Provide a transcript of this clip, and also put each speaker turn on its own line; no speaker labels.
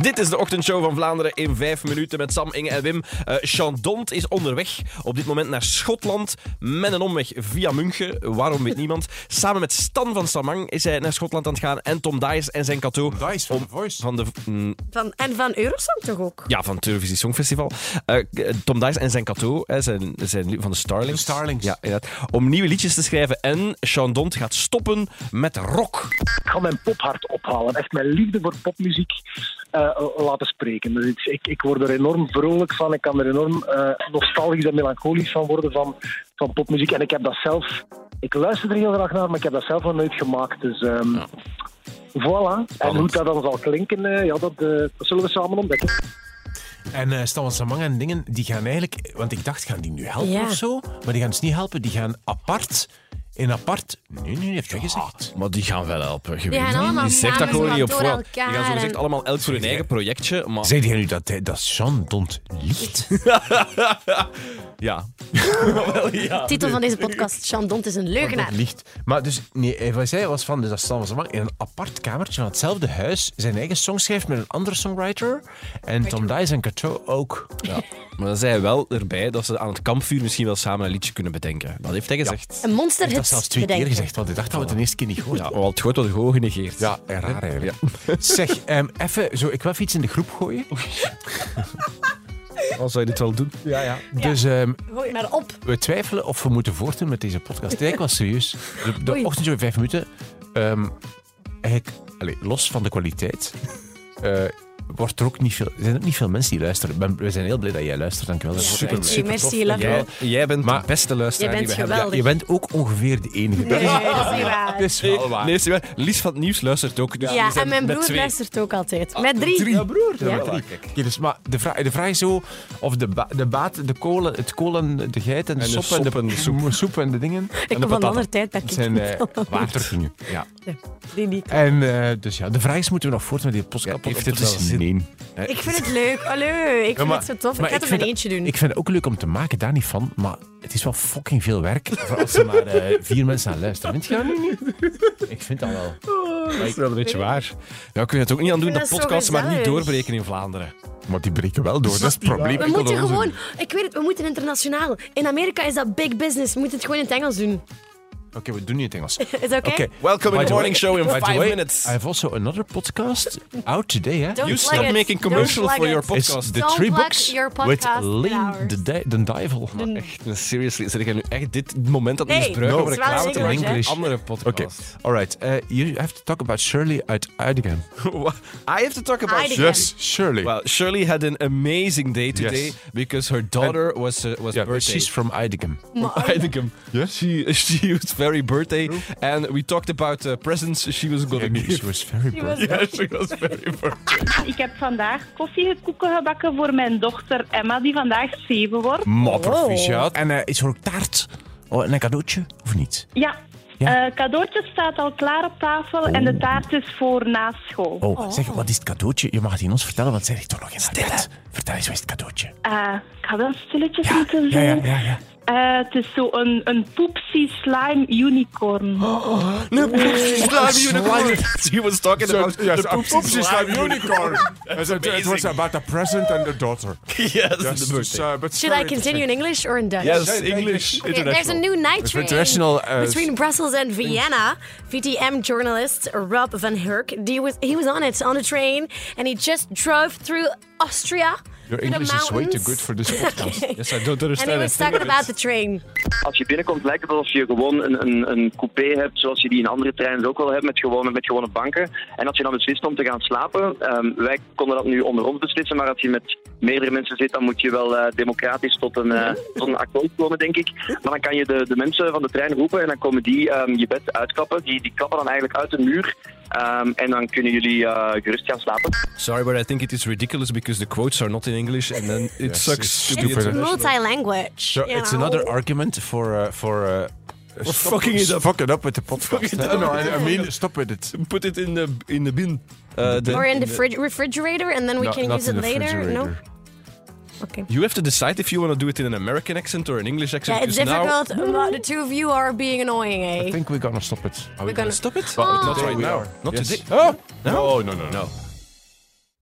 Dit is de ochtendshow van Vlaanderen in vijf minuten met Sam, Inge en Wim. Eh Chandont is onderweg op dit moment naar Schotland met een omweg via München. Waarom weet niemand. Samen met Stan van Samang is hij naar Schotland aan het gaan en Tom Dice en zijn kato
Dice van Ah, The Voice.
van de... mm,
Van, en van Eurosong toch ook?
ja, van het Eurovisie Songfestival. Eh, Tom Dice en zijn kato, hè, zijn, zijn, van de Starlings.
De Starlings.
Ja, inderdaad. Om nieuwe liedjes te schrijven. En Chandont gaat stoppen met rock.
Ik ga mijn pophart ophalen. Echt mijn liefde voor popmuziek eh, laten spreken. Dus ik, ik, ik word er enorm vrolijk van. Ik kan er enorm eh, nostalgisch en melancholisch van worden van, van popmuziek. En ik heb dat zelf... Ik luister er heel graag naar, maar ik heb dat zelf nog nooit gemaakt. Dus ehm, voilà. En hoe dat dan zal klinken, eh, ja, dat, eh, dat zullen we samen ontdekken.
En eh Stan van Samang en dingen, die gaan eigenlijk... Want ik dacht, gaan die nu helpen
Ja.
of zo? Maar die gaan dus niet helpen. Die gaan apart... In apart... Nee, nee, heeft hij gezegd.
Maar die gaan wel helpen. Je
gaan
weet het
allemaal
niet. Die zegt dat
namen
gewoon niet op
door
voorhand. Die
elkaar
gaan zo gezegd
en-
allemaal elk voor hun eigen projectje. Maar
Zeg jij nu dat, hij- dat Jean Dont liegt?
ja,
Titel van deze podcast: Chandont is een leugenaar.
Het licht. Maar dus, nee, eh, wat zij was van, dus dat Stan van Zamak in een apart kamertje van hetzelfde huis zijn eigen song schrijft met een andere songwriter. En Tom Dice en Cato ook.
maar dan zei hij wel erbij dat ze aan het kampvuur misschien wel samen een liedje kunnen bedenken. Dat heeft hij gezegd.
Een
Ik heb dat zelfs
monsterhit
twee keer
bedenken.
gezegd, want ik dacht dat we het de eerste keer niet
Ja,
hoorden.
maar het goed wordt gewoon genegeerd.
Ja, eh, raar eigenlijk. Zeg, ehm, even zo, ik wil even iets in de groep gooien.
al zou je dit wel doen.
Ja, ja. Dus ehm,
Gooi maar op.
we twijfelen of we moeten voortdoen met deze podcast. Kijk, was serieus. De, de
Oei.
ochtendshow in vijf minuten. ehm, eigenlijk, allee, los van de kwaliteit, eh, wordt er ook niet veel, zijn er ook niet veel mensen die luisteren. Ik ben- we zijn heel blij dat jij luistert. Dankjewel. daarvoor.
Super.
Echt
Hey, merci,
tof.
love
Jij,
Dankjewel.
jij bent
Maar-
de beste luisteraar
Jij bent
die we
Ja,
geweldig.
je bent ook ongeveer de enige.
Nee, dat is niet waar.
Dat is wel waar.
Nee, zie je wel, Lies van het Nieuws luistert ook. Dus
Ja,
die zijn
en mijn
met
broer
twee.
luistert ook altijd.
Ah,
Met drie.
Drie. broer.
Ja.
Oké, dus, maar de vraag, de vraag is zo of de, ba- de baat, de kolen, het kolen, de geit en de,
En de
sop, en de,
sop en de
soep. en de dingen.
Ik kom van een ander tijdperk.
Het
ik
zijn
kom van
eh
een ander-
waterdingen. Ja.
Die niet.
En eh, dus ja, de vraag is, moeten we nog voort met die podcast?
Ja, heeft
Of
dit wel
dat is
zin?
nee.
Ik vind het leuk. Allee, ik vind
dus maar-
het zo tof. Ik
maar
ga het
ik
op
vind
mijn eentje doen.
Ik vind het ook leuk om te maken, daar niet van, maar het is wel fucking veel werk voor als er maar eh, vier mensen aan luisteren. Vind je dat niet? Ik vind dat wel.
Dat is wel een beetje waar. Ja, kun je het ook niet aan doen
Ik
dat
vind dat zo
podcasts maar niet
gezellig.
doorbreken in Vlaanderen.
Maar die breken wel door, dat is het probleem.
We moeten gewoon, ik weet het, we moeten internationaal. In Amerika is dat big business. We moeten het gewoon in het Engels doen.
Oké, we doen niet het Engels.
Is dat oké?
Welcome in
By
the morning
the way-
show in
by the
five
way,
minutes.
I have also another podcast out today, hè?
Don't
You
plug
stop
it.
making
Don't
commercial
plug
for
it.
your
It's
podcast.
the
Don't
three
plug
books
your
with
podcast in
Lane
ours.
the, Di- the Devil.
Echt, seriously, zeg jij nu echt dit moment aan het
Nee,
misbruiken
no,
om
het is wel
reclame te
English,
maken voor een
hè?
andere
Oké,
podcast?
all right. Uh, you have to talk about Shirley uit Uidingen.
I have to talk about
Heidegger.
Shirley.
Yes, Shirley.
Well, Shirley had an amazing day today because her daughter was uh, was
yeah, but
birthday.
she's from Uidingen.
I think um, she she was very birthday, and we talked about uh, presents she was going to
Yeah,
give.
she was very
Die was
broke.
Yeah, she was very birthday.
Ik heb vandaag koffiekoeken gebakken voor mijn dochter Emma, die vandaag zeven wordt.
Maar proficiat. En eh, is er ook taart? Oh, en een cadeautje? Of niet?
Ja.
Ja.
Eh, cadeautje staat al klaar op tafel en de taart is voor na school.
Oh, zeg, wat is het cadeautje? Je mag het in ons vertellen, want zij ligt toch nog in haar bed. Vertel eens, wat is het cadeautje?
Eh, ik ga wel stilletjes moeten
ja,
zijn.
ja, ja. ja.
Eh, het is zo een, een poepsie slime unicorn.
she was talking about the poops
unicorn. It was about a present and the daughter.
yes, the birthday.
Should I continue in English or in Dutch?
Yes, English
Okay, there's a
international.
new night
It's
train
international, uh,
between Brussels and Vienna. VTM journalist Rob van Herk, he was he was on it on a train, and he just drove through Austria.
Your
through the
English is way too
mountains.
good for this podcast.
Yes, I don't
And he
understand. a
was
thing
talking
of it.
about the train.
Als je binnenkomt lijkt het alsof je gewoon een, een, een coupé hebt, zoals je die in andere treinen ook wel hebt, met gewone, met gewone banken. En als je dan beslist om te gaan slapen, ehm, wij konden dat nu onder ons beslissen, maar als je met meerdere mensen zit, dan moet je wel eh, democratisch tot een, eh, tot een akkoord komen, denk ik. Maar dan kan je de, de mensen van de trein roepen en dan komen die ehm, je bed uitklappen. Die, die klappen dan eigenlijk uit de muur ehm, en dan kunnen jullie eh, gerust gaan slapen.
Sorry, but I think it is ridiculous because the quotes are not in English, and then it
it's
sucks to be
It's
Stupid.
multi-language.
So
you
it's
know.
another argument for uh, for. Uh, stop-
fucking it up.
Fuck it up with the podcast.
it
hè?
up.
No, I, I mean, stop with it.
put it in the in the bin. Uh, the-
Or in the fridge refrigerator, and then we
No,
can
not
use
in
it
the
later. No.
refrigerator.
Okay.
You have to decide if you want to do it in an American accent or an English accent.
Yeah, it's
because now-
difficult. but the two of you are being annoying, eh?
I think we're gonna stop it.
We're gonna
Stop it.
Oh.
Not right now. Not today.
Oh no no no no.
No.